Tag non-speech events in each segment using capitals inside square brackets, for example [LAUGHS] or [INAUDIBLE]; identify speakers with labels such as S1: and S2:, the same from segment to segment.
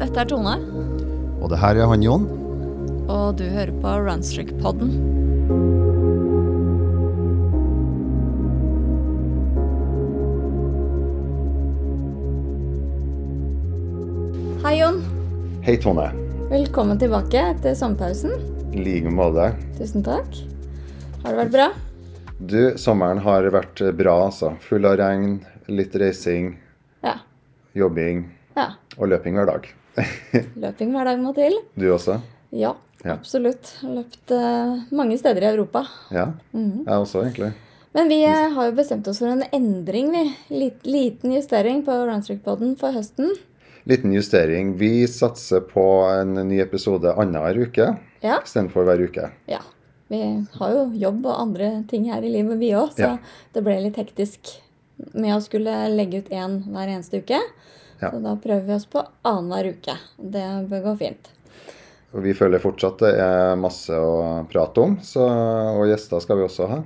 S1: Dette er Tone,
S2: Og det her er han Jon.
S1: og du hører på Runstrick-podden. Hei, Jon.
S2: Hei, Tone.
S1: Velkommen tilbake etter sommerpausen.
S2: I like måte.
S1: Tusen takk. Har det vært bra?
S2: Du, sommeren har vært bra, altså. Full av regn, litt reising,
S1: Ja.
S2: jobbing
S1: ja.
S2: og løping hver dag. [LAUGHS]
S1: Løping hver dag må til.
S2: Du også?
S1: Ja,
S2: Ja.
S1: absolutt. Løpt eh, mange steder i Europa.
S2: Ja. Jeg også, egentlig.
S1: Men vi
S2: Mm.
S1: eh, har jo bestemt oss for en endring, vi. Lit- Liten justering på Runstrick-podden for høsten.
S2: Liten justering. Vi satser på en ny episode annenhver uke
S1: Ja.
S2: istedenfor hver uke.
S1: ja. Vi har jo jobb og andre ting her i livet, vi òg, så
S2: Ja.
S1: det ble litt hektisk med å skulle legge ut én hver eneste uke.
S2: Ja.
S1: Så da prøver vi oss på annenhver uke. Det bør gå fint.
S2: Og vi føler fortsatt det er masse å prate om, så, og gjester skal vi også ha.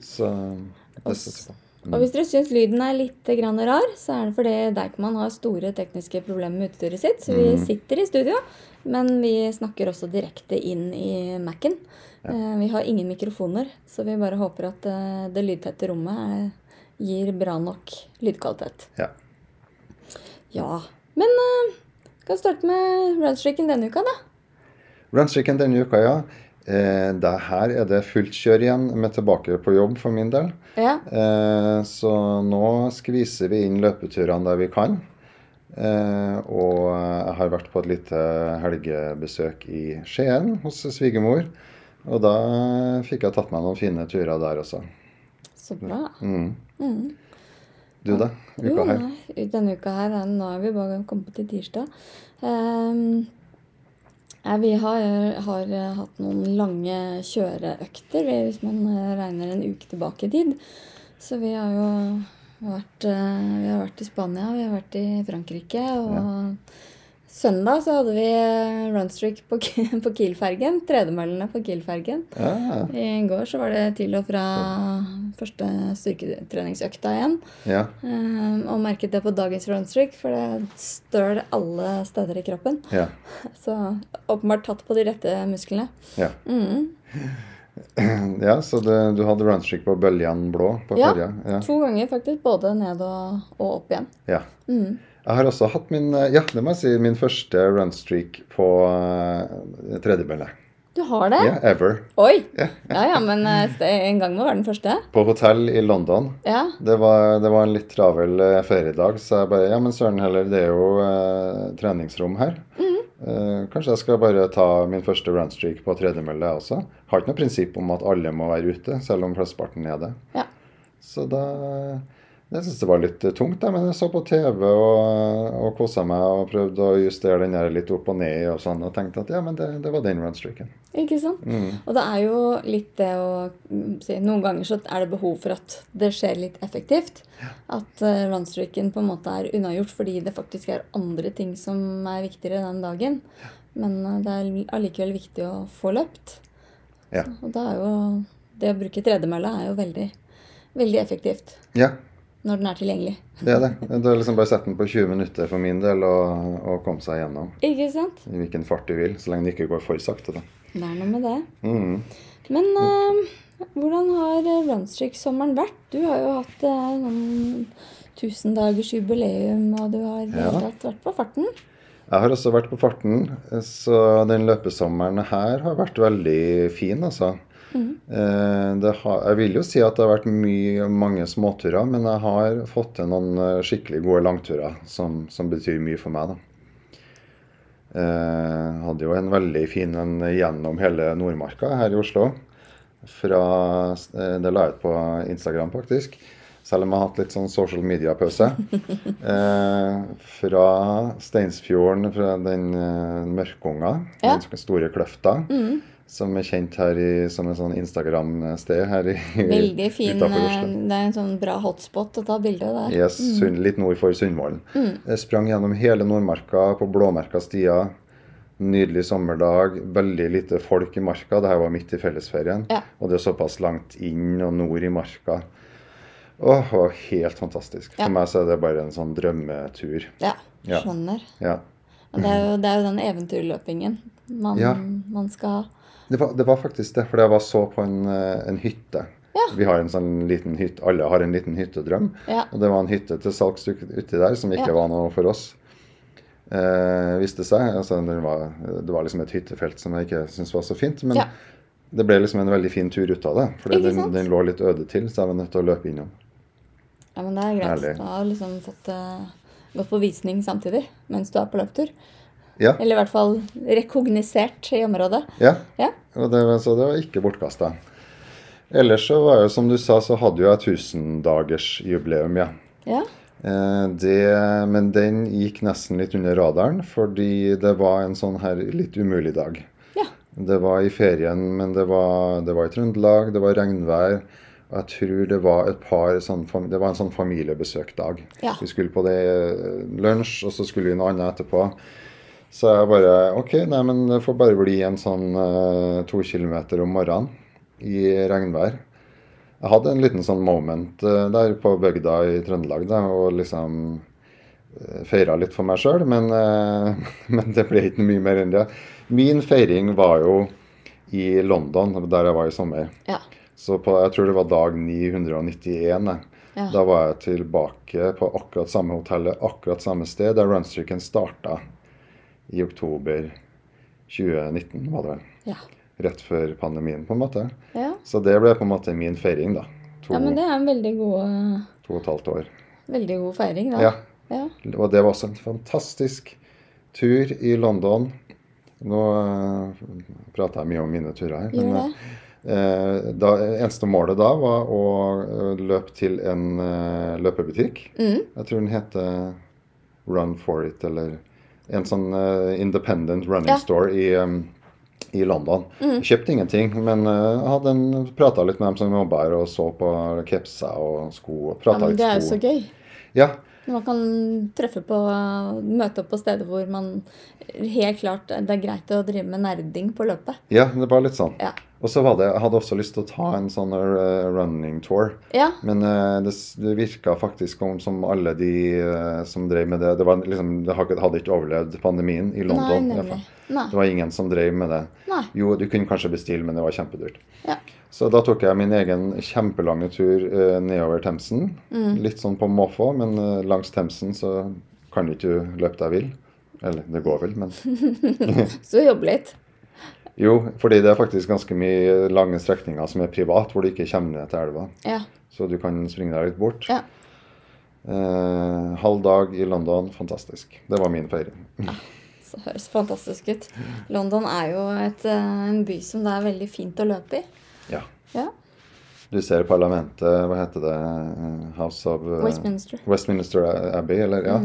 S2: Så det satser vi på.
S1: Og hvis dere syns lyden er litt grann rar, så er det fordi Deichman har store tekniske problemer med utstyret sitt. Så vi sitter i studio, men vi snakker også direkte inn i Mac-en. Eh, Vi har ingen mikrofoner, så vi bare håper at eh, det lydtette rommet eh, gir bra nok lydkvalitet.
S2: Ja.
S1: Ja. Men eh, skal vi starte med runstreaken denne uka, da?
S2: Runstricken denne uka, ja. Eh, det her er det fullt kjør igjen med tilbake på jobb for min del.
S1: Ja.
S2: Eh, så nå skviser vi inn løpeturene der vi kan. Eh, og jeg har vært på et lite helgebesøk i Skien hos svigermor. Og da fikk jeg tatt meg noen fine turer der også.
S1: Så bra.
S2: Mm. Du da?
S1: jo,
S2: Uka her?
S1: Nei, denne uka her, er- nå er vi bare kommet til tirsdag. Ehm, nei, vi har, har eh, hatt noen lange kjøreøkter, vi, hvis man eh, regner en uke tilbake i tid. Så vi har jo vært, eh, vi har vært i Spania, vi har vært i Frankrike. Og søndag så hadde vi eh, runstreak på, Ki- [LAUGHS] på Kiel-fergen. Tredemøllene på Kiel-fergen.
S2: Ja.
S1: I går så var det til og fra første styrketreningsøkta igjen.
S2: ja.
S1: Ehm, og merket det på dagens runstreak, for det støl alle steder i kroppen. [LAUGHS]
S2: Ja.
S1: Så åpenbart tatt på de rette musklene.
S2: Ja. [CLEARS THROAT]
S1: Mm.
S2: ja så det, du hadde runstreak på Bøljan blå på
S1: Ja.
S2: forrige?
S1: To ganger faktisk, både ned og, og opp igjen.
S2: ja. ja.
S1: Mm.
S2: Jeg har også hatt min, eh, ja, det må jeg si, min første runstreak på uh, tredjebølle.
S1: Du har det?
S2: Ja, ever.
S1: Oi! Ja ja, men eh, st- en gang må være den første.
S2: På hotell i London.
S1: Ja.
S2: Det var, det var en litt travel eh, feriedag, så jeg bare Ja, men søren heller, det er jo eh, treningsrom her. Eh, kanskje jeg skal bare ta min første runstreak på tredjemølle, jeg også. Har ikke noe prinsipp om at alle må være ute, selv om flesteparten er det.
S1: Ja.
S2: Så da Jeg syns det var litt eh, tungt, jeg, men jeg så på TV og, eh, og kosa meg og prøvde å justere den der litt opp og ned og sånn, og tenkte at ja, men det, det var den runstreaken.
S1: Ikke sant? Og det er jo litt det å mm, si Noen ganger så er det behov for at det skjer litt effektivt. At uh, runstreaken på en måte er unnagjort fordi det faktisk er andre ting som er viktigere den dagen. Men eh, det er allikevel viktig å få løpt.
S2: Ja.
S1: Og da er jo det å bruke tredemølla er jo veldig, veldig effektivt
S2: ja.
S1: når den er tilgjengelig.
S2: Det er det. Du har liksom bare sett den på 20 minutter for min del og, og komme seg gjennom
S1: Ikke sant?
S2: i hvilken fart du vil, så lenge det ikke går for sakte. da.
S1: Det er noe med det.
S2: Mhm.
S1: Men eh, hvordan har eh, Runstreak-sommeren vært? Du har jo hatt eh, noen tusen dagers jubileum, og du har i det hele
S2: Ja.
S1: tatt vært på farten.
S2: Jeg har også vært på farten, så den løpesommeren her har vært veldig fin, altså. Eh, Det har, jeg vil jo si at det har vært mye, mange småturer, men jeg har fått til noen eh, skikkelig gode langturer som, som betyr mye for meg. da. Eh, hadde jo en veldig fin en gjennom hele Nordmarka her i Oslo. Fra, eh, det la jeg ut på Instagram, faktisk. Selv om jeg har hatt litt sånn social media-pause.
S1: [LAUGHS]
S2: Eh, fra Steinsfjorden, fra den eh, mørkunga,
S1: Ja. Mm.
S2: den store kløfta. Som er kjent her i, som et sånn Instagram-sted her i
S1: Veldig fin.
S2: utenfor
S1: eh, Det er en sånn bra hotspot å ta bilde av der.
S2: Yes, Sund- litt nord for Sundvolden.
S1: Mm.
S2: Jeg Sprang gjennom hele Nordmarka på blåmerka stier. Nydelig sommerdag, veldig lite folk i marka. Dette var midt i fellesferien.
S1: Ja.
S2: Og det er såpass langt inn og nord i marka. Åh, det var helt fantastisk.
S1: Ja.
S2: For meg så er det bare en sånn drømmetur.
S1: Ja,
S2: Ja.
S1: skjønner.
S2: Ja.
S1: Og det er jo, det er jo den eventyrløpingen man,
S2: Ja.
S1: man skal ha.
S2: Det var, det var faktisk det, for jeg var så på en, eh, en hytte.
S1: Ja.
S2: Vi har en sånn liten hytte, Alle har en liten hyttedrøm.
S1: Ja.
S2: Og det var en hytte til salgs ut- uti der som ikke
S1: Ja.
S2: var noe for oss. Eh, viste seg. Altså, den var, det var liksom et hyttefelt som jeg ikke syntes var så fint. Men
S1: Ja.
S2: det ble liksom en veldig fin tur ut av det. For
S1: Ikke
S2: den,
S1: sant?
S2: den lå litt øde til, så jeg var nødt til å løpe innom.
S1: ja, men det er greit.
S2: Herlig.
S1: Da har du liksom fått eh, gått på visning samtidig mens du er på løpetur.
S2: Ja,
S1: Eller i hvert fall rekognosert i området.
S2: ja.
S1: Ja.
S2: Og det, var- så det var ikke bortkasta. Ellers så var jo, som du sa, så hadde jo jeg 1000-dagersjubileum, ja.
S1: Ja.
S2: Eh, Det, men den gikk nesten litt under radaren, fordi det var en sånn her litt umulig dag.
S1: Ja.
S2: Det var i ferien, men det var, det var i Trøndelag, det var regnvær. Og jeg tror det var et par sånn, fam- det var en sånn familiebesøkdag.
S1: Ja.
S2: Vi skulle på det eh, lunsj, og så skulle vi noe annet etterpå. Så jeg bare OK, nei, men det får bare bli en sånn eh, to kilometer om morgenen i regnvær. Jeg hadde en liten sånn moment eh, der på bygda i Trøndelag da, og liksom eh, feira litt for meg sjøl, men, eh, [LAUGHS] men det ble ikke mye mer enn det. Min feiring var jo i London, der jeg var i sommer.
S1: Ja.
S2: Så på, jeg tror det var dag 991. jeg.
S1: Ja.
S2: Da var jeg tilbake på akkurat samme hotellet, akkurat samme sted der Runstricken starta i oktober 2019, var det vel.
S1: Ja.
S2: Rett før pandemien, på en måte.
S1: ja.
S2: Så det ble på en måte min feiring, da. To,
S1: ja men det er en veldig god, eh,
S2: to og et halvt år.
S1: veldig god feiring, da.
S2: Ja.
S1: Ja.
S2: Og det var også en fantastisk tur i London. Nå eh, prater jeg mye om mine turer her.
S1: Gjør det.
S2: eh, da, eneste målet da var å eh, løpe til en eh, løpebutikk.
S1: Mm.
S2: Jeg tror den heter Run for it, eller en sånn eh, independent running
S1: Ja. Mm.
S2: store i, eh, i London. Jeg Kjøpte ingenting, men eh, hadde en prata litt med dem som jobba her, og så på capser og sko. og
S1: ja,
S2: pratet
S1: men det er
S2: litt
S1: jo
S2: sko.
S1: så gøy.
S2: Ja,
S1: Når man kan treffe på, møte opp på steder hvor man helt klart Det er greit å drive med nerding på løpet.
S2: ja, det var litt sånn.
S1: Ja.
S2: Og så var det, Jeg hadde også lyst til å ta en sånn eh, running tour.
S1: Ja.
S2: Men eh, det, s- det virka faktisk om, som alle de eh, som drev med det Det, var liksom, det har ikke- hadde ikke overlevd pandemien i
S1: Nei,
S2: London. i hvert
S1: nemlig.
S2: fall.
S1: Nei.
S2: Det var ingen som drev med det.
S1: Nei.
S2: Jo, du kunne kanskje bestille, men det var kjempedyrt.
S1: Ja.
S2: Så da tok jeg min egen kjempelange tur eh, nedover Themsen.
S1: Mm.
S2: Litt sånn på måfå, men eh, langs Themsen så kan du ikke løpe deg vill. Eller det går vel, men
S1: Så jobbe litt.
S2: Jo, fordi det er faktisk ganske mye lange strekninger som er privat, hvor du ikke kommer ned til elva.
S1: Ja.
S2: Så du kan springe deg litt bort.
S1: Ja.
S2: Eh, halv dag i London, fantastisk. Det var min feiring.
S1: Så høres fantastisk ut. London er jo et, eh, en by som det er veldig fint å løpe i.
S2: Ja.
S1: Ja.
S2: Du ser parlamentet, hva heter det Eh, House of eh,
S1: Westminster. Mm-hmm.
S2: Westminster Abbey, eller? Ja.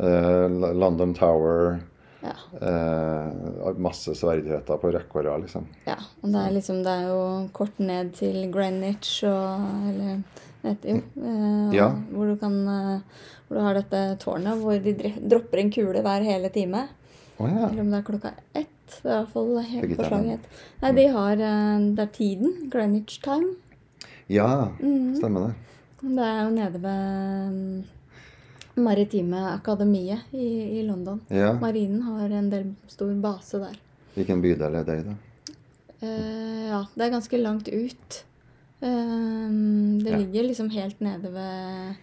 S2: Eh, L- London Tower.
S1: Ja.
S2: Eh, masse sverdigheter på rekke og rad, liksom.
S1: ja. Og det er liksom Det er jo kort ned til Greenwich og Eller vet jo eh,
S2: Ja.
S1: Hvor du kan eh, Hvor du har dette tårnet hvor de dre- dropper en kule hver hele time.
S2: Å ja.
S1: Eller om det er klokka ett. Det er i hvert fall helt
S2: Fikk ikke
S1: på
S2: jeg
S1: slaget. Nei, de har eh, Det er tiden. Greenwich time. Mm.
S2: Ja,
S1: Mm-hmm.
S2: stemmer det.
S1: Det er jo nede ved mm, Maritime Akademiet i, i London.
S2: Ja.
S1: Marinen har en del stor base der.
S2: Hvilken bydel er det i, da?
S1: Eh, ja, det er ganske langt ut. Ehm, det
S2: Ja.
S1: ligger liksom helt nede ved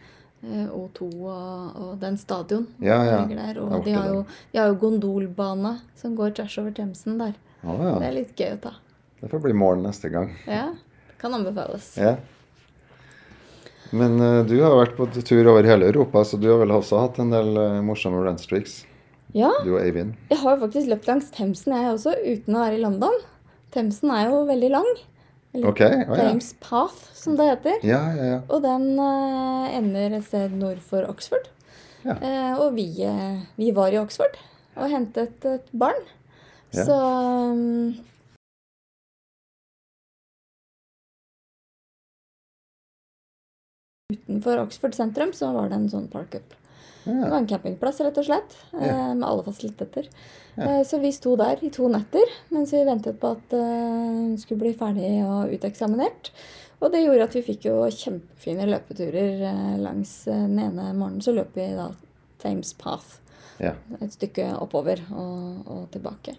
S1: eh, O2 og, og den stadion.
S2: Ja, ja.
S1: ligger der.
S2: Jeg
S1: Og
S2: orker
S1: de har,
S2: det.
S1: jo, de har jo gondolbane som går tvers over Themsen der.
S2: Å
S1: Det
S2: ja.
S1: er litt gøy å ta.
S2: Det får bli morgen neste gang.
S1: Ja, kan anbefales.
S2: Ja. Men eh, du har vært på tur over hele Europa, så du har vel også hatt en del eh, morsomme runstreaks,
S1: Ja,
S2: du og Eivind?
S1: jeg har jo faktisk løpt langs Themsen jeg også, uten å være i London. Themsen er jo veldig lang. Eller
S2: OK? Å ja.
S1: Thames Path, som det heter.
S2: Ja, ja, ja.
S1: Og den eh, ender et sted nord for Oxford.
S2: Ja.
S1: Eh, og vi, eh, vi var i Oxford og hentet et barn.
S2: Ja.
S1: Så mm, Utenfor Oxford sentrum så var det en sånn parkup. Det
S2: ja.
S1: var en campingplass, rett og slett, eh,
S2: Ja.
S1: med alle fasiliteter.
S2: Ja.
S1: Eh, Så vi sto der i to netter mens vi ventet på at eh, hun skulle bli ferdig og uteksaminert. Og det gjorde at vi fikk jo kjempefine løpeturer eh, langs eh, den ene morgenen. Så løp vi da Thames Path.
S2: Ja.
S1: Et stykke oppover og, og tilbake.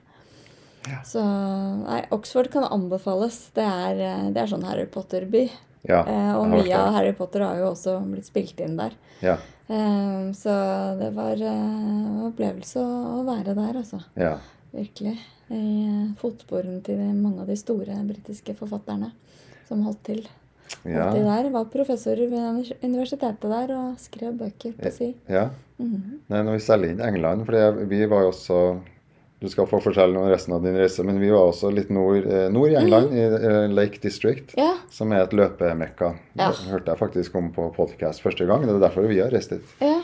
S2: Ja.
S1: Så nei, Oxford kan anbefales. Det er, eh, det er sånn Harry Potter-by.
S2: ja
S1: Eh, og mye
S2: jeg har vært
S1: av
S2: der.
S1: Harry Potter har jo også blitt spilt inn der.
S2: Ja,
S1: Eh, så det var eh, en opplevelse å å være der, altså.
S2: ja.
S1: Virkelig. I eh, fotsporene til de- mange av de store britiske forfatterne som holdt til.
S2: Ja.
S1: Holdt til der var professorer ved univers- universitetet der og skrev bøker på si.
S2: ja.
S1: Mhm.
S2: Nei, når vi selger inn England, for det- vi var jo også Du skal få forskjellen om resten av din reise, men vi var også litt nord, eh, nord i England, i eh, Lake District,
S1: Mm. Ja,
S2: som er et løpemekka.
S1: Ja.
S2: Det hørte jeg faktisk om på podcast første gang. Det er derfor vi har reist dit.
S1: ja,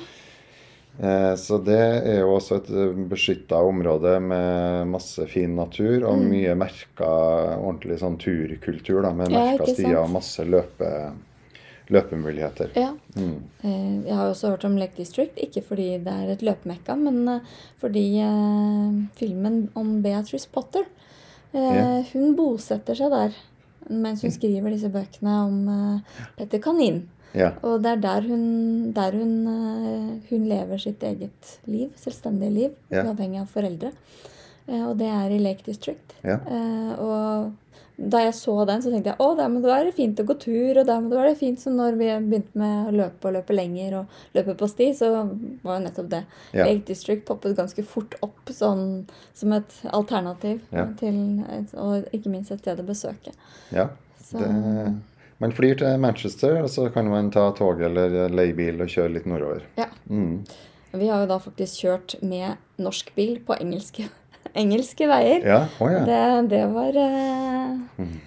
S2: Eh, Så det er jo også et beskytta område med masse fin natur
S1: Mm.
S2: og mye merka ordentlig sånn turkultur, da, med
S1: Ja,
S2: merka
S1: ikke
S2: stier og
S1: sant?
S2: masse løpe, løpemuligheter.
S1: ja.
S2: Mm.
S1: Eh, Jeg har jo også hørt om Lake District, ikke fordi det er et løpemekka, men eh, fordi eh, filmen om Beatrice Potter eh,
S2: Ja. Mm.
S1: Hun bosetter seg der mens hun skriver disse bøkene om eh, Petter Kanin.
S2: Ja.
S1: Og det er der hun, der hun, eh, hun lever sitt eget liv, selvstendige liv,
S2: Ja.
S1: uavhengig av foreldre. Eh, Og det er i Lake District.
S2: Ja.
S1: Eh, og da jeg så den, så tenkte jeg å, der må det være fint å gå tur, og der må det være fint som når vi begynte med å løpe og løpe lenger og løpe på sti, så var jo nettopp det.
S2: Ja.
S1: Lake District poppet ganske fort opp sånn, som et alternativ,
S2: Ja.
S1: til et, og ikke minst et sted å besøke.
S2: ja.
S1: Så,
S2: Det, man flyr til Manchester, og så kan man ta tog eller leiebil og kjøre litt nordover.
S1: ja.
S2: Mm.
S1: Vi har jo da faktisk kjørt med norsk bil på engelske, [LAUGHS] engelske veier.
S2: Ja, å ja.
S1: Det, det, var, eh,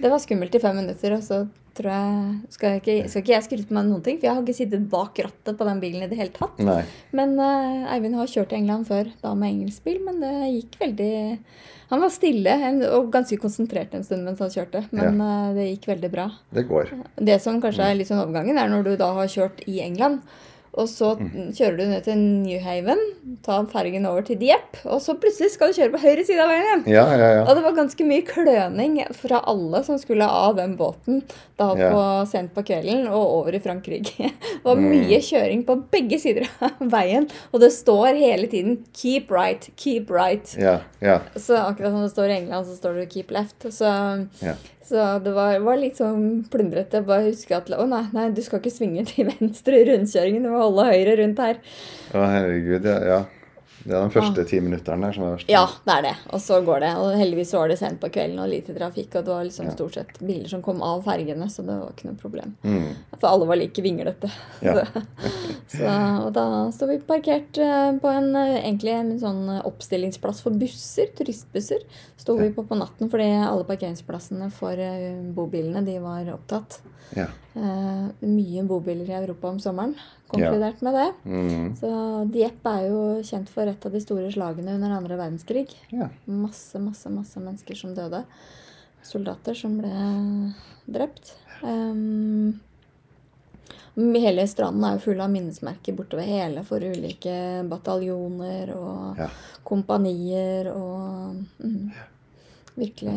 S1: det var skummelt i fem minutter, og så tror jeg Skal ikke, skal ikke jeg skryte meg av noen ting, for jeg har ikke sittet bak rattet på den bilen i det hele tatt.
S2: Nei.
S1: Men eh, Eivind har kjørt i England før, da med engelsk bil, men det gikk veldig Han var stille en, og ganske konsentrert en stund mens han kjørte, men eh, det gikk veldig bra.
S2: Det går.
S1: Det som kanskje er litt sånn overgangen, er når du da har kjørt i England, og så kjører du ned til New Haven, tar fergen over til Dieppe, og så plutselig skal du kjøre på høyre side av veien igjen.
S2: Ja, ja, ja.
S1: Og det var ganske mye kløning fra alle som skulle av den båten da
S2: Ja. Mm.
S1: på sent på kvelden og over i Frankrike. [LAUGHS] Det var mye kjøring på begge sider av [LAUGHS] veien, og det står hele tiden 'keep right', 'keep right'.
S2: Ja, ja.
S1: Så akkurat som det står i England, så står det 'keep left'. Så
S2: ja.
S1: så det var, var litt sånn plundrete. Jeg bare husker at å nei, nei, du skal ikke svinge til [LAUGHS] venstre i rundkjøringen, du må holde høyre rundt her.
S2: Å, herregud, ja. ja. Det er de første ti minuttene der som er verst.
S1: Ah. Ja, det er det. Og så går det. Og heldigvis så var det sent på kvelden og lite trafikk, og det var liksom
S2: Ja.
S1: stort sett biler som kom av fergene, så det var ikke noe problem.
S2: Mm.
S1: For alle var like vinglete.
S2: Ja.
S1: [LAUGHS] Så, og da sto vi parkert eh, på en, eh, egentlig en sånn eh, oppstillingsplass for busser, turistbusser. Sto vi på på natten fordi alle parkeringsplassene for eh, bobilene, de var opptatt.
S2: ja.
S1: Eh, mye bobiler i Europa om sommeren,
S2: Ja.
S1: konkludert med det.
S2: Mm.
S1: Så Dieppe er jo kjent for et av de store slagene under andre verdenskrig.
S2: ja.
S1: Masse, masse, masse mennesker som døde. Soldater som ble drept. Um, hele stranden er jo full av minnesmerker bortover hele for ulike bataljoner og
S2: Ja.
S1: kompanier og mm, Virkelig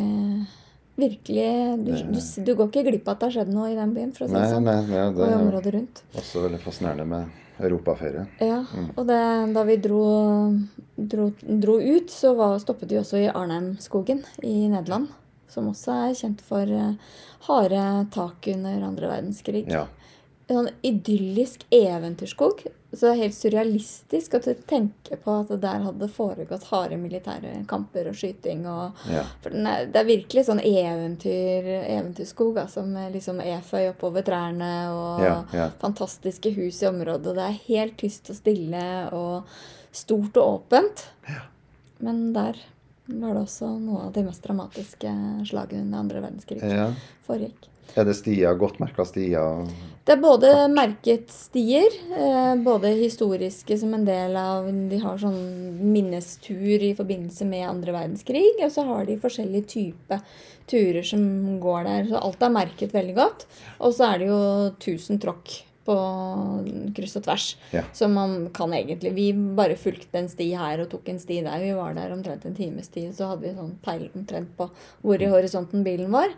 S1: Virkelig du, du, du går ikke glipp av at det har skjedd noe i den byen, for å si det
S2: Nei,
S1: sånn.
S2: nei, nei,
S1: Og
S2: det
S1: i
S2: er jo
S1: området rundt.
S2: også veldig fascinerende med europaferie.
S1: Ja,
S2: Mm.
S1: og det, da vi dro, dro, dro ut, så var, stoppet vi også i Arnheimskogen i Nederland. Som også er kjent for eh, harde tak under andre verdenskrig.
S2: Ja.
S1: En sånn idyllisk eventyrskog. Så helt surrealistisk at du tenker på at det der hadde det foregått harde militære kamper og skyting. og
S2: ja.
S1: for den er, det er virkelig sånn eventyr, eventyrskog, altså, med liksom eføy oppover trærne og
S2: Ja, ja.
S1: fantastiske hus i området. Det er helt tyst og stille og stort og åpent. Men der var det også noe av de mest dramatiske slagene under andre verdenskrig
S2: ja.
S1: foregikk.
S2: Er det stier, godt merka stier? og-
S1: Det er både merket stier, eh, både historiske som en del av De har sånn minnestur i forbindelse med andre verdenskrig. Og så har de forskjellige typer turer som går der. Så alt er merket veldig godt. Og så er det jo 1000 tråkk på kryss og tvers.
S2: Ja.
S1: Så man kan egentlig Vi bare fulgte en sti her og tok en sti der. Vi var der omtrent en times tid, så hadde vi sånn peil omtrent på hvor
S2: Mm.
S1: i horisonten bilen var.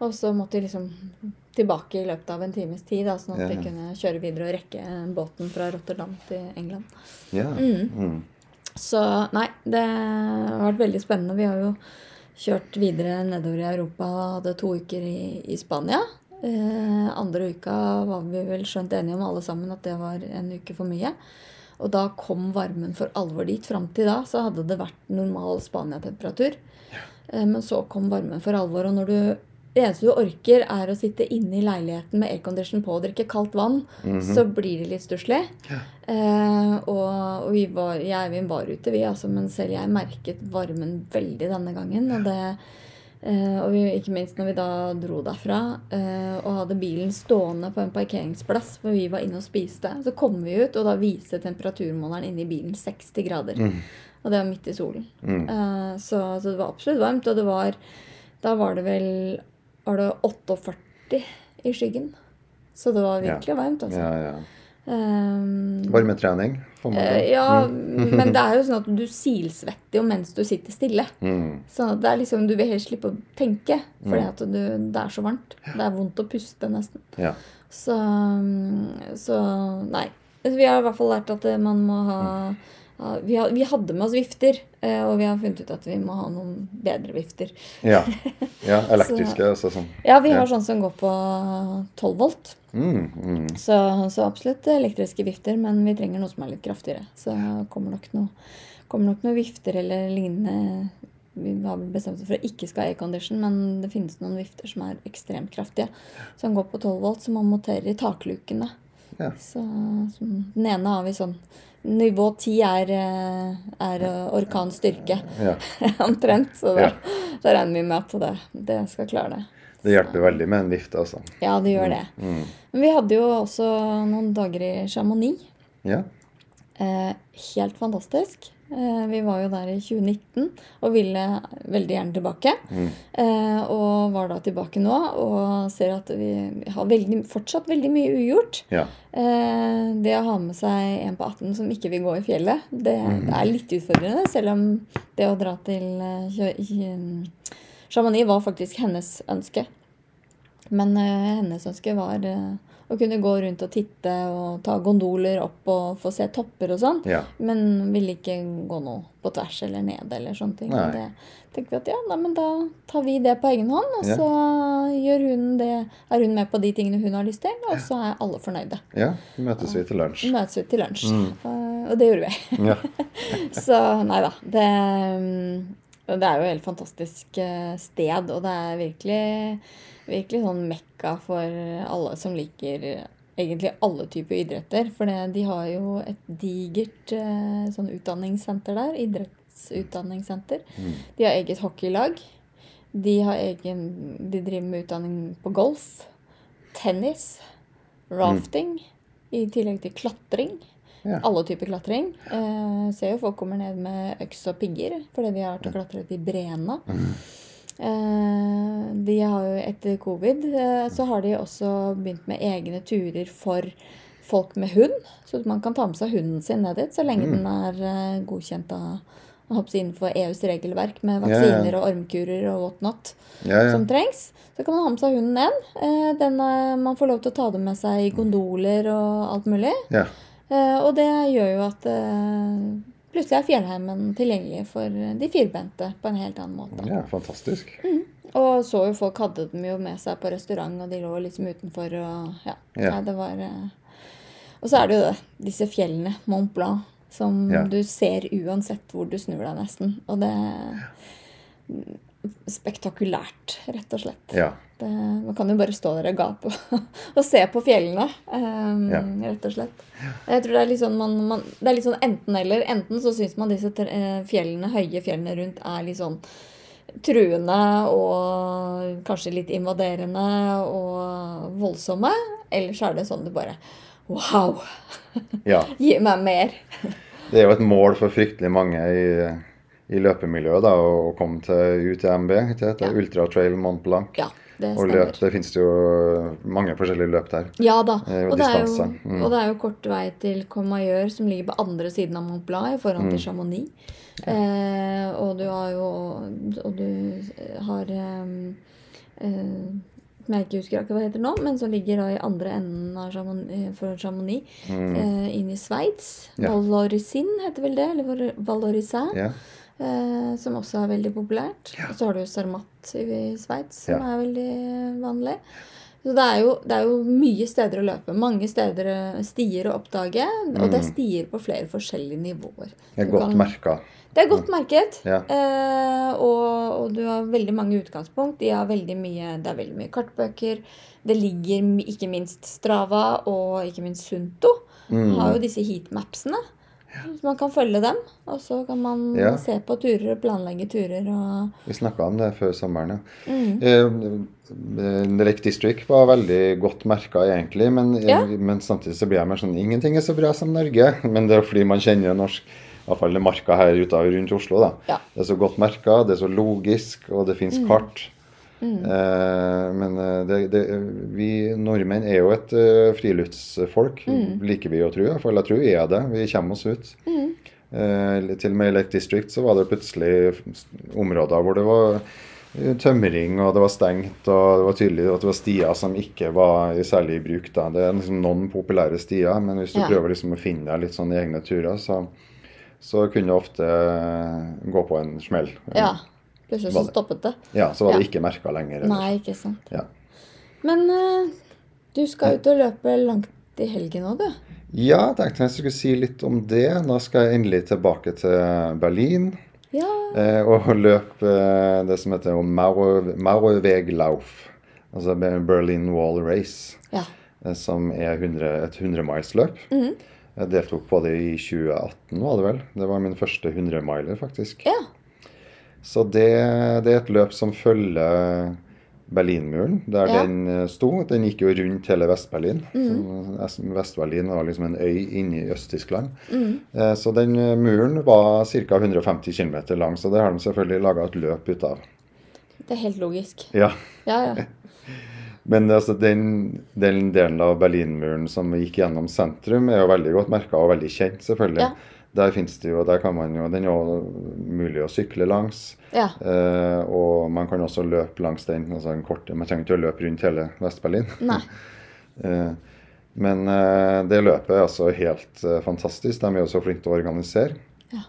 S1: Og så måtte vi liksom tilbake i løpet av en times tid, da, sånn at
S2: Ja, ja.
S1: vi kunne kjøre videre og rekke båten fra Rotterdam til England.
S2: Ja.
S1: Mm.
S2: Mm.
S1: Så nei, det har vært veldig spennende. Vi har jo kjørt videre nedover i Europa og hadde to uker i, i Spania. Eh, andre uka var vi vel skjønt enige om alle sammen at det var en uke for mye. Og da kom varmen for alvor dit. Fram til da så hadde det vært normal Spania-temperatur. Eh, men så kom varmen for alvor, og når du det eneste du orker, er å sitte inne i leiligheten med aircondition på og drikke kaldt vann,
S2: Mhm.
S1: så blir det litt stusslig. Eh, og, og vi var, jeg, vi var ute, vi, altså, men selv jeg merket varmen veldig denne gangen. Og, det, eh, og vi, ikke minst når vi da dro derfra eh, og hadde bilen stående på en parkeringsplass hvor vi var inne og spiste, så kom vi ut, og da viste temperaturmåleren inne i bilen 60 grader.
S2: Mm.
S1: Og det var midt i solen.
S2: Mm.
S1: Eh, så, så det var absolutt varmt, og det var Da var det vel Var det 48 i skyggen? Så det var
S2: Ja.
S1: virkelig varmt, altså.
S2: Ja, ja.
S1: Eh,
S2: Varmetrening, får man
S1: Eh,
S2: det?
S1: ja, men det er jo sånn at du silsvetter jo mens du sitter stille.
S2: Mm.
S1: Sånn at det er liksom, Du vil helst slippe å tenke, fordi
S2: Mm.
S1: at du, det er så varmt. Det er vondt å puste, nesten.
S2: Ja.
S1: Så, mm, så nei. Vi har i hvert fall lært at eh, man må ha ha- vi, har, vi hadde med oss vifter, eh, og vi har funnet ut at vi må ha noen bedre vifter.
S2: ja.
S1: [LAUGHS]
S2: ja elektriske, altså sånn.
S1: Ja, vi
S2: Ja.
S1: har sånn som går på 12 volt,
S2: Mm, mm.
S1: så, så absolutt elektriske vifter, men vi trenger noe som er litt kraftigere. Så kommer nok noe, kommer nok noe vifter eller lignende. Vi har vel bestemt oss for å ikke skal ha aircondition, men det finnes noen vifter som er ekstremt kraftige. Som går på 12 volt, som man monterer i taklukene.
S2: Ja.
S1: Så, så den ene har vi sånn Nivå 10 er, eh, er eh, orkanstyrke, [LAUGHS]
S2: ja.
S1: omtrent. Så da,
S2: Ja.
S1: da regner vi med at det, det skal klare det.
S2: Det hjelper veldig med en vifte, altså.
S1: Ja, det gjør det.
S2: Mm.
S1: Men vi hadde jo også noen dager i Chamonix.
S2: Ja.
S1: Eh, helt fantastisk. Eh, vi var jo der i 2019 og ville veldig gjerne tilbake.
S2: Mm.
S1: Eh, og var da tilbake nå og ser at vi har veldig, fortsatt veldig mye ugjort.
S2: ja.
S1: Eh, det å ha med seg en på 18 som ikke vil gå i fjellet, det,
S2: Mm.
S1: det er litt utfordrende. Selv om det å dra til eh, Kjø- Kjø- Chamonix var faktisk hennes ønske. Men eh, hennes ønske var eh, å kunne gå rundt og titte og ta gondoler opp og få se topper og sånn.
S2: Ja.
S1: Men ville ikke gå noe på tvers eller ned eller sånne ting.
S2: Nei.
S1: Og Det tenker vi at ja, nei, men da tar vi det på egen hånd, og
S2: Ja.
S1: så gjør hun det, er hun med på de tingene hun har lyst til, og så er alle fornøyde.
S2: ja. Så møtes vi til lunsj.
S1: Møtes vi til lunsj. Eh, og det gjorde vi. [LAUGHS]
S2: Ja.
S1: Så nei da. Det, mm, det er jo et helt fantastisk eh, sted, og det er virkelig, virkelig sånn mekka for alle som liker eh, egentlig alle typer idretter. For det, de har jo et digert eh, sånn utdanningssenter der. Idrettsutdanningssenter.
S2: Mm.
S1: De har eget hockeylag. De, har egen, de driver med utdanning på golf, tennis, rafting, i tillegg til klatring.
S2: Ja.
S1: Alle typer klatring. Eh, ser jo folk kommer ned med øks og pigger fordi de har vært og klatret i breene.
S2: Mm.
S1: Eh, de har jo etter covid eh, så har de også begynt med egne turer for folk med hund. Så at man kan ta med seg hunden sin ned dit så lenge
S2: Mm.
S1: den er eh, godkjent av jeg håper å si innenfor EUs regelverk med
S2: Ja, ja.
S1: vaksiner og ormkurer og whatnot
S2: Ja, ja.
S1: som trengs. Så kan man ha med seg hunden ned. Eh, den, eh, man får lov til å ta den med seg i gondoler og alt mulig.
S2: ja.
S1: Eh, Og det gjør jo at eh, plutselig er fjellheimen tilgjengelig for de firbente på en helt annen måte.
S2: ja fantastisk.
S1: Mm. Og så jo folk hadde dem jo med seg på restaurant, og de lå liksom utenfor og ja.
S2: Ja.
S1: Nei, det var eh. Og så er det jo det, disse fjellene, Mont Blanc, som
S2: Ja.
S1: du ser uansett hvor du snur deg, nesten. Og det Spektakulært, rett og slett.
S2: Ja.
S1: Det, man kan jo bare stå der og gape og, [LAUGHS] og se på fjellene, ehm,
S2: Ja.
S1: rett og slett. Jeg tror det er litt sånn, man, man, det er litt sånn enten-eller. Enten så syns man disse tre- eh, fjellene, høye fjellene rundt er litt sånn truende og kanskje litt invaderende og voldsomme. Eller så er det sånn du bare Wow! [LAUGHS]
S2: ja.
S1: Gi meg mer!
S2: Det er jo et mål for fryktelig mange i, i løpemiljøet da, å å komme til UTMB, ikke
S1: Ja.
S2: det? heter? Ultra Trail Mont Blanc.
S1: Ja, det
S2: og løp,
S1: stemmer.
S2: det finnes jo mange forskjellige løp der.
S1: Ja da.
S2: Eh, og
S1: Og det, er jo,
S2: distanse. Mm.
S1: og det er jo kort vei til Comayeur, som ligger på andre siden av Mont Blanc, i forhold
S2: Mm.
S1: til Chamonix. Eh, og du har jo Og du har ehm, eh, eh, som jeg ikke husker akkurat hva heter nå, men som ligger da i andre enden av Chamonix, eh, for Chamonix, eh, inn i Sveits.
S2: Mm. Ja.
S1: Valorisin heter vel det, eller Val- Valorisin,
S2: Ja.
S1: eh, som også er veldig populært.
S2: Ja.
S1: Og så har du jo Sarmat i i Sveits, som
S2: Ja.
S1: er veldig vanlig. Så det er, jo, det er jo mye steder å løpe. Mange steder, eh, stier å oppdage. Og det er stier på flere forskjellige nivåer.
S2: Jeg Mm. er
S1: Du
S2: godt
S1: kan-
S2: merka.
S1: det er godt merket.
S2: Ja.
S1: Eh, og, og du har veldig mange utgangspunkt. De har veldig mye, det er veldig mye kartbøker. Det ligger m- ikke minst Strava og ikke minst Sunto.
S2: Mm,
S1: Har jo disse heatmapsene. Så man kan følge dem. Og så kan man
S2: Ja.
S1: se på turer, planlegge turer og
S2: Vi snakka om det før sommeren, ja.
S1: mm.
S2: Eh, Lake District var veldig godt merka, egentlig. Men, eh,
S1: Ja.
S2: men samtidig så blir jeg mer sånn Ingenting er så bra som Norge. [LAUGHS] Men det er fordi man kjenner norsk Iallfall det marka her ute av- rundt Oslo. da.
S1: Ja. Mm.
S2: Det er så godt merka, det er så logisk, og det fins kart. Eh, men eh, det, det, vi nordmenn er jo et eh, friluftsfolk,
S1: Mm.
S2: liker vi å tro. Iallfall jeg tror vi er det. Vi kommer oss ut. Eh, til og med i Lake District så var det plutselig områder hvor det var eh, tømring, og det var stengt, og det var tydelig at det var stier som ikke var i særlig bruk. da. Det er liksom noen populære stier, men hvis du
S1: Ja.
S2: prøver liksom å finne deg litt sånn i egne turer, så, så kunne du ofte eh, gå på en smell.
S1: Ja. Plutselig
S2: Var
S1: så
S2: det.
S1: stoppet det.
S2: Ja, så var det
S1: Ja.
S2: ikke merka lenger. eller-
S1: Nei, ikke sant.
S2: Ja.
S1: Men eh, du skal ut og løpe langt i helgen òg, du.
S2: ja, jeg tenkte jeg skulle si litt om det. Da skal jeg endelig tilbake til Berlin.
S1: Ja.
S2: Eh, og løp eh, det som heter Mauer- Mauerweglauf, altså Be- Berlin Wall Race,
S1: ja.
S2: eh, som er 100, et 100-milsløp.
S1: Mhm.
S2: Jeg deltok på det i 2018, var det vel. Det var min første 100-miler, faktisk.
S1: Ja.
S2: Så det, det er et løp som følger Berlinmuren, der
S1: Ja.
S2: den eh, sto. Den gikk jo rundt hele Vest-Berlin.
S1: Mhm.
S2: Så Vest- Vest-Berlin var liksom en øy inne i Øst-Tyskland.
S1: Mhm.
S2: Eh, Så den eh, muren var ca. 150 km lang, så det har de selvfølgelig laga et løp ut av.
S1: Det er helt logisk.
S2: Ja.
S1: Ja, ja.
S2: Men altså, den, den delen av Berlinmuren som gikk gjennom sentrum, er jo veldig godt merka og veldig kjent, selvfølgelig.
S1: Ja.
S2: Der finnes det jo, der kan man jo, Den er jo mulig å sykle langs.
S1: ja.
S2: Eh, og man kan også løpe langs den. altså en kort, Man trenger ikke å løpe rundt hele Vest-Berlin.
S1: Nei.
S2: Eh, men eh, det løpet er altså helt eh, fantastisk. De er jo så flinke til å organisere.
S1: Ja.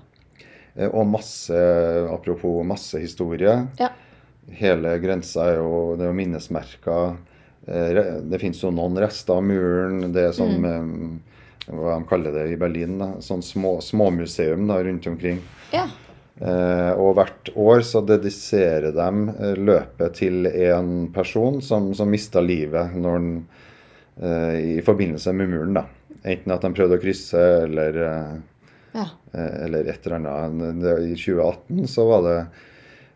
S2: Eh, og masse Apropos masse historie.
S1: Ja.
S2: Hele grensa er jo Det er jo minnesmerker. Eh, re- det fins jo noen rester av muren. Det er sånn
S1: Mm.
S2: eh, Hva de kaller det i Berlin? da, Sånn små, småmuseum da, rundt omkring.
S1: Ja.
S2: Eh, og hvert år så dediserer de eh, løpet til en person som, som mista livet når han, eh, i forbindelse med muren. da. Enten at de prøvde å krysse, eller, eh,
S1: Ja.
S2: eh, eller et eller annet. Det- I 2018 så var det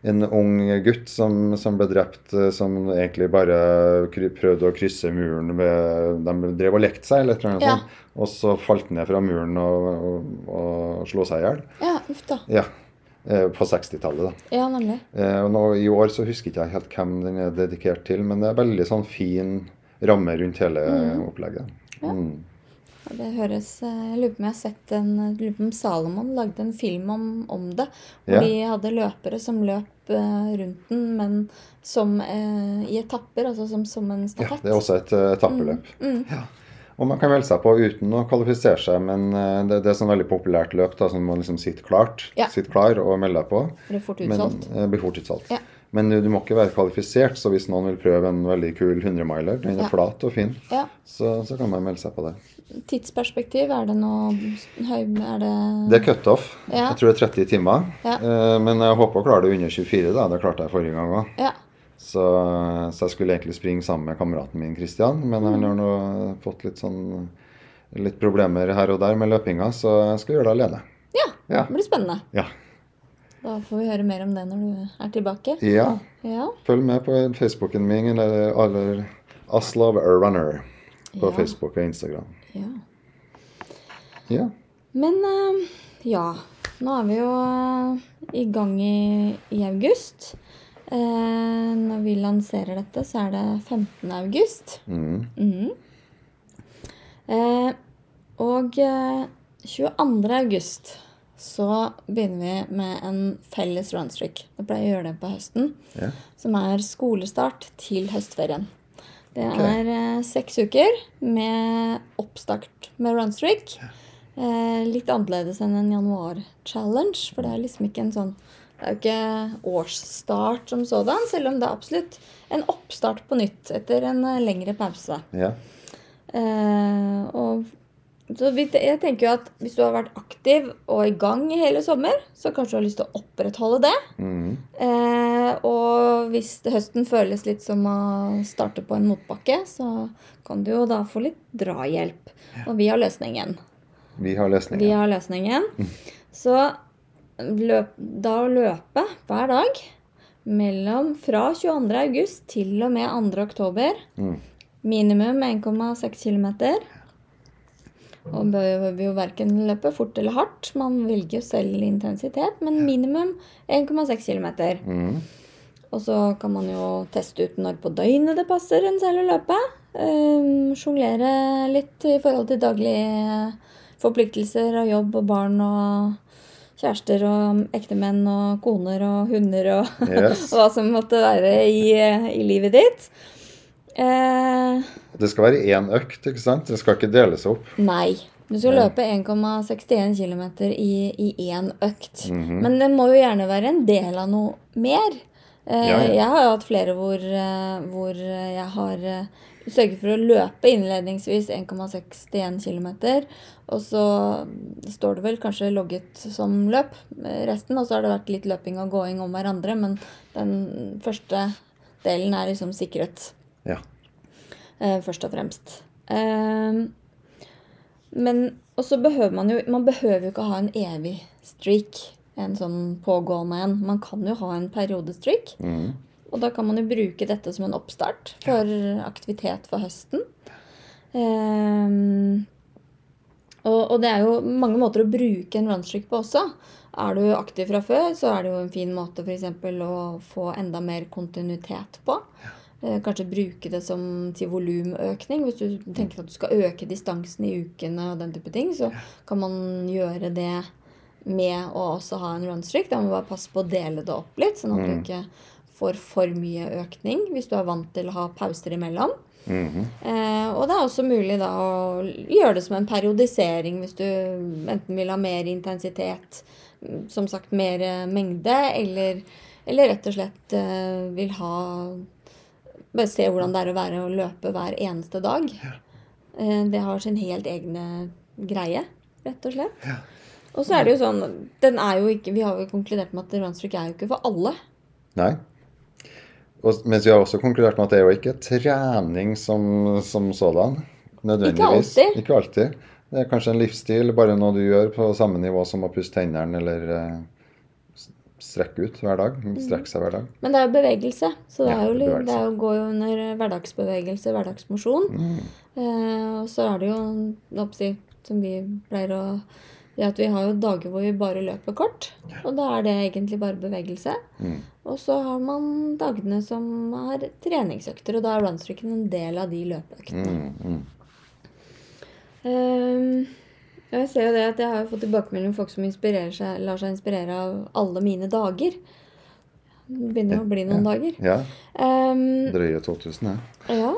S2: en ung gutt som, som ble drept, eh, som egentlig bare kry, prøvde å krysse muren ved De drev og lekte seg, eller et eller annet
S1: Ja.
S2: sånt. Og så falt han ned fra muren og, og, og slo seg i hjel.
S1: Ja, uff da.
S2: Ja. eh, På 60-tallet, da.
S1: Ja, nemlig.
S2: Eh, og nå, I år så husker ikke jeg helt hvem den er dedikert til, men det er veldig sånn fin ramme rundt hele opplegget. Mm.
S1: Ja, Det høres eh, Jeg lurer på om jeg har sett en jeg lurer på om Salomon lagde en film om, om det. Hvor
S2: Ja.
S1: de hadde løpere som løp eh, rundt den, men som eh, i etapper, altså som, som en
S2: Ja,
S1: stafett.
S2: det er også et eh, etappeløp.
S1: Mm.
S2: Ja. Og man kan melde seg på uten å kvalifisere seg, men eh, det, det er sånn veldig populært løp da, som man liksom sitter klart,
S1: Ja.
S2: sitter klar og melder deg på.
S1: Ble fort
S2: Men
S1: utsolgt.
S2: eh, blir fort utsolgt.
S1: Ja.
S2: Men du, du må ikke være kvalifisert, så hvis noen vil prøve en veldig kul 100-miler, den er
S1: Ja.
S2: flat og fin,
S1: Ja.
S2: så, så kan man melde seg på det.
S1: Tidsperspektiv, er det noe høy... Er det
S2: Det er cutoff.
S1: Mm. Ja.
S2: Jeg tror det er 30 timer.
S1: Ja.
S2: Eh, Men jeg håper å klare det under 24. da, Det klarte jeg forrige gang òg.
S1: Ja.
S2: Så, så jeg skulle egentlig springe sammen med kameraten min Christian, men han har nå fått litt sånn litt problemer her og der med løpinga, så jeg skal gjøre det alene.
S1: ja.
S2: Ja.
S1: Det blir spennende.
S2: Ja.
S1: Da får vi høre mer om det når du er tilbake.
S2: ja.
S1: Ja.
S2: Følg med på Facebooken min eller, eller Aslav Runner på
S1: Ja.
S2: Facebook og Instagram.
S1: ja.
S2: Ja.
S1: Men eh, ja, nå er vi jo eh, i gang i, i august. Eh, når vi lanserer dette, så er det 15. august.
S2: Mm.
S1: Mhm. Eh, og eh, 22. august så begynner vi med en felles runstreak. Vi pleier å gjøre det på høsten.
S2: Ja.
S1: Som er skolestart til høstferien. Det
S2: Ok.
S1: er eh, seks uker med oppstart med runstreak. Eh, litt annerledes enn en januar-challenge, for det er liksom ikke en sånn Det er jo ikke årsstart som sådan, selv om det er absolutt en oppstart på nytt etter en eh, lengre pause.
S2: Ja.
S1: Eh, og så vi- jeg tenker jo at hvis du har vært aktiv og i gang i hele sommer, så kanskje du har lyst til å opprettholde det.
S2: Mhm.
S1: Eh, og hvis det- høsten føles litt som å starte på en motbakke, så kan du jo da få litt drahjelp. Og vi har løsningen.
S2: Vi har
S1: Vi
S2: løsninger.
S1: har løsningen. Så løp, da å løpe hver dag mellom fra 22. august til og med 2. oktober
S2: Mhm.
S1: Minimum 1,6 km. Og bør jo verken løpe fort eller hardt. Man velger jo selv intensitet, men minimum 1,6 km.
S2: Mhm.
S1: Og så kan man jo teste ut når på døgnet det passer en selv å løpe. Um, Sjonglere litt i forhold til daglige forpliktelser og jobb og barn og kjærester og ektemenn og koner og hunder og [LAUGHS]
S2: Yes.
S1: hva som måtte være i, i livet ditt. Eh,
S2: Det skal være én økt, ikke sant? Det skal ikke deles opp.
S1: Nei. Du skal
S2: Nei.
S1: løpe 1,61 km i, i én økt.
S2: Mhm.
S1: Men det må jo gjerne være en del av noe mer. Eh,
S2: Ja, ja.
S1: Jeg har jo hatt flere hvor, eh, hvor eh, jeg har eh, sørget for å løpe innledningsvis 1,61 km. Og så står det vel kanskje logget som løp eh, resten, og så har det vært litt løping og gåing om hverandre, men den første delen er liksom sikret.
S2: Ja.
S1: Eh, først og fremst. Ehm, men Og så behøver man jo Man behøver jo ikke ha en evig streak. En sånn pågående en. Man kan jo ha en periodestreak.
S2: Mhm.
S1: Og da kan man jo bruke dette som en oppstart for aktivitet for høsten. Ehm, og, og det er jo mange måter å bruke en runstreak på også. Er du aktiv fra før, så er det jo en fin måte f.eks. å få enda mer kontinuitet på. Eh, Kanskje bruke det som til volumøkning. Hvis du tenker at du skal øke distansen i ukene og den type ting, så kan man gjøre det med å også ha en runstreak. Da må man bare passe på å dele det opp litt, sånn at du
S2: Mm.
S1: ikke får for mye økning hvis du er vant til å ha pauser imellom.
S2: Mhm.
S1: Eh, og det er også mulig da å gjøre det som en periodisering hvis du enten vil ha mer intensitet, mm, som sagt mer eh, mengde, eller, eller rett og slett eh, vil ha Bare se hvordan det er å være å løpe hver eneste dag. Eh, det har sin helt egne greie, rett og slett. Og så er det jo sånn den er jo ikke, Vi har jo konkludert med at runstreak er jo ikke for alle.
S2: Nei. Og, mens vi har også konkludert med at det er jo ikke trening som, som sådan. Nødvendigvis.
S1: alltid.
S2: Ikke alltid. Det er kanskje en livsstil, bare noe du gjør på samme nivå som å pusse tennene eller eh, s- strekke ut hver dag. Strekke seg hver dag.
S1: Men det er jo bevegelse, så det,
S2: Ja,
S1: er jo,
S2: det er
S1: litt-
S2: bevegelse.
S1: det er jo, går jo under hverdagsbevegelse, hverdagsmosjon.
S2: Mm.
S1: Eh, og så er det jo, hva skal jeg si, som vi pleier å det at Vi har jo dager hvor vi bare løper kort, og da er det egentlig bare bevegelse.
S2: Mm.
S1: Og så har man dagene som er treningsøkter, og da er runstreaken en del av de løpeøktene.
S2: Mm, mm.
S1: Ehm, ja, jeg ser jo det at jeg har jo fått tilbakemelding om folk som inspirerer seg, lar seg inspirere av alle mine dager. Det begynner jo å bli noen dager.
S2: Ja.
S1: Ehm,
S2: Drøye 2000, ja.
S1: Ja,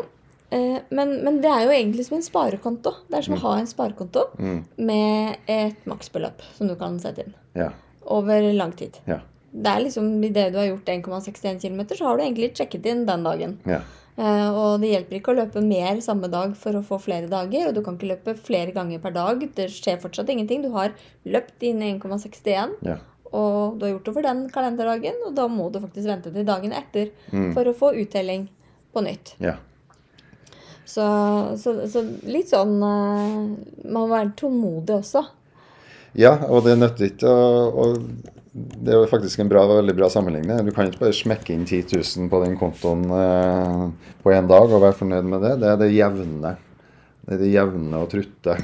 S1: eh, men, men det er jo egentlig som en sparekonto. Det er som å ha en sparekonto
S2: Mm.
S1: med et maksbeløp som du kan sette inn
S2: Ja.
S1: over lang tid.
S2: Ja.
S1: Det er liksom Idet du har gjort 1,61 km, så har du egentlig sjekket inn den dagen.
S2: ja.
S1: Eh, og det hjelper ikke å løpe mer samme dag for å få flere dager. Og du kan ikke løpe flere ganger per dag. Det skjer fortsatt ingenting. Du har løpt inn 1,61,
S2: ja.
S1: og du har gjort det for den kalenderdagen, og da må du faktisk vente til dagen etter
S2: Mm.
S1: for å få uttelling på nytt.
S2: ja.
S1: Så, så, så litt sånn eh, Man må være tålmodig også.
S2: Ja, og det nytter ikke å å- Det er jo faktisk en bra, veldig bra sammenligning. Du kan ikke bare smekke inn 10 000 på den kontoen eh, på én dag og være fornøyd med det. Det er det jevne. Det er det jevne og trutte.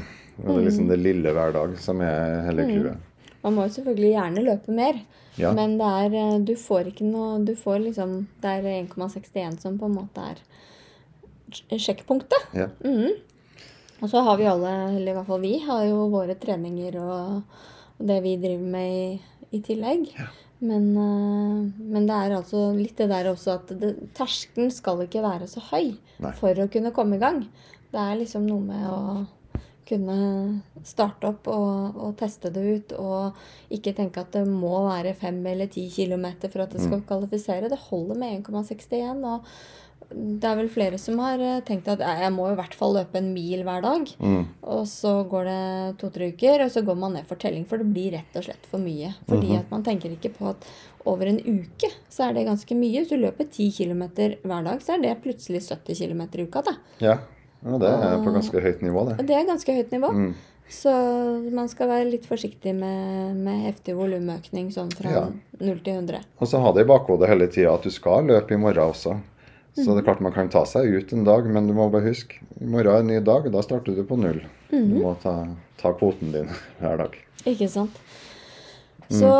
S2: Og det er liksom det lille hver dag som er hele clouet.
S1: Man må jo selvfølgelig gjerne løpe mer,
S2: Ja.
S1: men det er, eh, du får ikke noe Du får liksom Det er 1,61 som på en måte er sj- sjekkpunktet.
S2: Ja.
S1: Mhm. Og så har vi alle, eller i hvert fall vi, har jo våre treninger og, og det vi driver med i, i tillegg. Men, eh, men det er altså litt det der også at det, terskelen skal ikke være så høy
S2: Nei.
S1: for å kunne komme i gang. Det er liksom noe med å kunne starte opp og, og teste det ut, og ikke tenke at det må være 5 eller 10 km for at det skal kvalifisere. Det holder med 1,61. og det er vel flere som har eh, tenkt at "Nei, jeg må i hvert fall løpe en mil hver dag.
S2: Mm.
S1: Og så går det to-tre uker, og så går man ned for telling, for det blir rett og slett for mye. Fordi at man tenker ikke på at over en uke så er det ganske mye. Hvis du løper 10 km hver dag, så er det plutselig 70 km i uka. Da.
S2: Ja. ja, det er på ganske høyt nivå, det.
S1: Og det er ganske høyt nivå.
S2: Mm.
S1: Så man skal være litt forsiktig med, med heftig volumøkning sånn fra
S2: Ja.
S1: 0 til 100.
S2: Og så ha det i bakhodet hele tida at du skal løpe i morgen også. Så det er klart man kan ta seg ut en dag, men du må bare huske i morgen er en ny dag, da starter du på null. Du må ta, ta kvoten din [LAUGHS] hver dag.
S1: Ikke sant? Så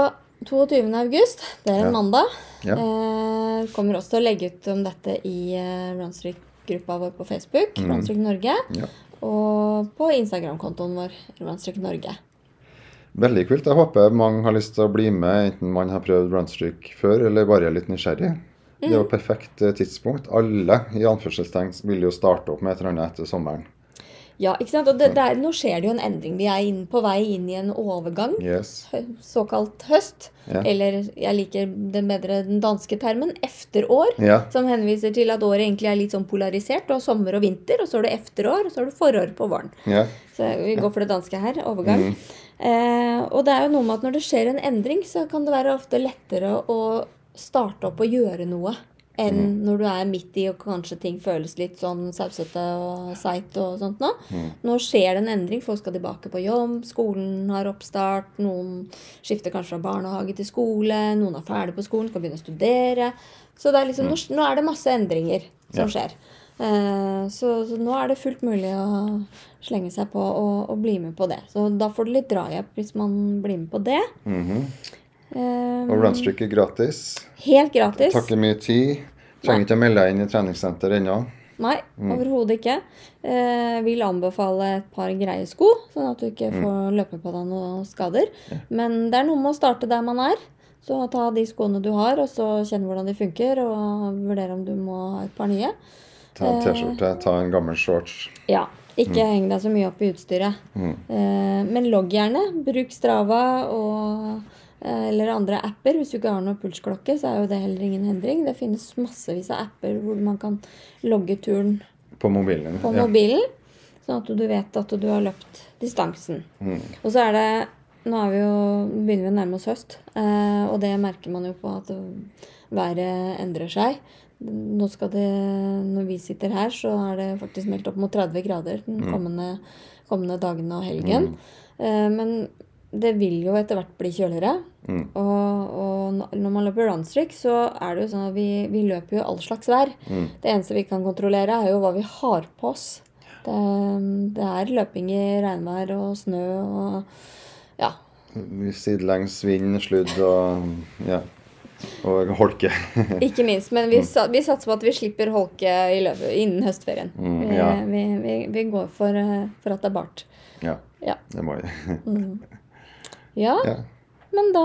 S1: 22. august, det er en
S2: Mm. Ja.
S1: mandag,
S2: Ja.
S1: eh, kommer også til å legge ut om dette i eh, Runstreak-gruppa vår på Facebook, mm. Norge,
S2: Ja.
S1: og på Instagram-kontoen vår, Runstreak Norge.
S2: Veldig kult. Jeg håper mange har lyst til å bli med, enten man har prøvd runstreak før eller bare er litt nysgjerrig. Det
S1: Mm.
S2: er jo et perfekt eh, tidspunkt. Alle i anførselstegn vil jo starte opp med et eller annet etter sommeren.
S1: Ja, ikke sant? Og det, det er, nå skjer det jo en endring. Vi er inn, på vei inn i en overgang.
S2: Yes.
S1: hø- såkalt høst,
S2: Ja.
S1: eller jeg liker den bedre den danske termen, efterår,
S2: Ja.
S1: som henviser til at året egentlig er litt sånn polarisert. Du har sommer og vinter, og så har du efterår, og så har du forår på våren.
S2: Ja.
S1: Så vi går for det danske her, overgang. Eh, og det er jo noe med at når det skjer en endring, så kan det være ofte lettere å starte opp og gjøre noe. Enn når du er midt i og kanskje ting føles litt sånn sausete og seigt og sånt nå. Nå skjer det en endring. Folk skal tilbake på jobb, skolen har oppstart, noen skifter kanskje fra barnehage til skole, noen er ferdig på skolen, skal begynne å studere. Så det er liksom, nå, nå er det masse endringer som skjer. Eh, så, så nå er det fullt mulig å slenge seg på og, og bli med på det. Så da får du litt drahjelp hvis man blir med på det.
S2: Mhm.
S1: Eh,
S2: Og runstreak er gratis.
S1: helt gratis.
S2: Takker mye tid. Trenger ikke å melde deg inn i treningssenter ennå.
S1: Nei, overhodet ikke. Eh, vil anbefale et par greie sko, sånn at du ikke får løpe på deg noen skader. Men det er noe med å starte der man er. Så ta de skoene du har, og så kjenne hvordan de funker, og vurdere om du må ha et par nye.
S2: Ta en
S1: Eh.
S2: T-skjorte, ta en gammel shorts.
S1: Ja, ikke heng deg så mye opp i utstyret.
S2: Mm.
S1: Eh, men logg gjerne. Bruk Strava og, eh, eller andre apper. Hvis du ikke har noen pulsklokke, så er jo det heller ingen hindring. Det finnes massevis av apper hvor man kan logge turen
S2: På mobilen.
S1: på
S2: Ja.
S1: mobilen, sånn at du vet at du har løpt distansen.
S2: Mm.
S1: Og så er det Nå er vi jo, begynner vi å nærme oss høst, eh, og det merker man jo på at været endrer seg. Nå skal det, når vi sitter her, så er det faktisk meldt opp mot 30 grader den
S2: Mm.
S1: kommende, kommende dagene og helgen. Eh, men det vil jo etter hvert bli kjøligere.
S2: Mm.
S1: Og, og n- når man løper runstreak, så er det jo sånn at vi, vi løper jo all slags vær.
S2: Mm.
S1: Det eneste vi kan kontrollere, er jo hva vi har på oss. Det, det er løping i regnvær og snø og Ja.
S2: Sidelengs vind, sludd og ja. Og holke. [LAUGHS]
S1: Ikke minst. Men
S2: Mm.
S1: vi, sa- vi satser på at vi slipper holke i løpet innen høstferien.
S2: Mm,
S1: vi,
S2: ja.
S1: vi, vi, vi går for, eh, for at det er bart.
S2: ja.
S1: Ja.
S2: Det må vi. [LAUGHS]
S1: ja.
S2: Ja.
S1: Men da,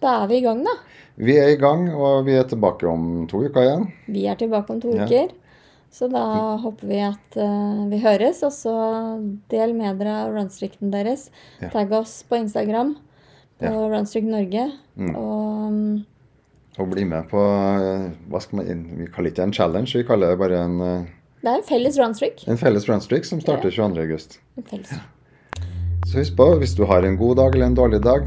S1: da er vi i gang, da.
S2: Vi er i gang, og vi er tilbake om to uker igjen.
S1: Vi er tilbake om to
S2: Ja.
S1: uker. Så da håper vi at eh, vi høres. Og så del med dere runstreaken deres.
S2: Ja.
S1: Tagg oss på Instagram på
S2: Ja.
S1: Runstreak Norge.
S2: Mm.
S1: Og mm,
S2: Og bli med på eh, hva skal man, Vi kaller det ikke en challenge, vi kaller det bare en, eh,
S1: det er en felles runstreak.
S2: en felles runstreak som starter 22.8.
S1: En felles.
S2: Så husk på, hvis du har en god dag eller en dårlig dag,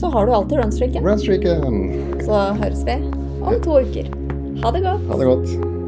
S1: Så har du alltid runstreaken.
S2: runstreaken!
S1: Så høres vi om to uker. Ha det godt.
S2: Ha det godt.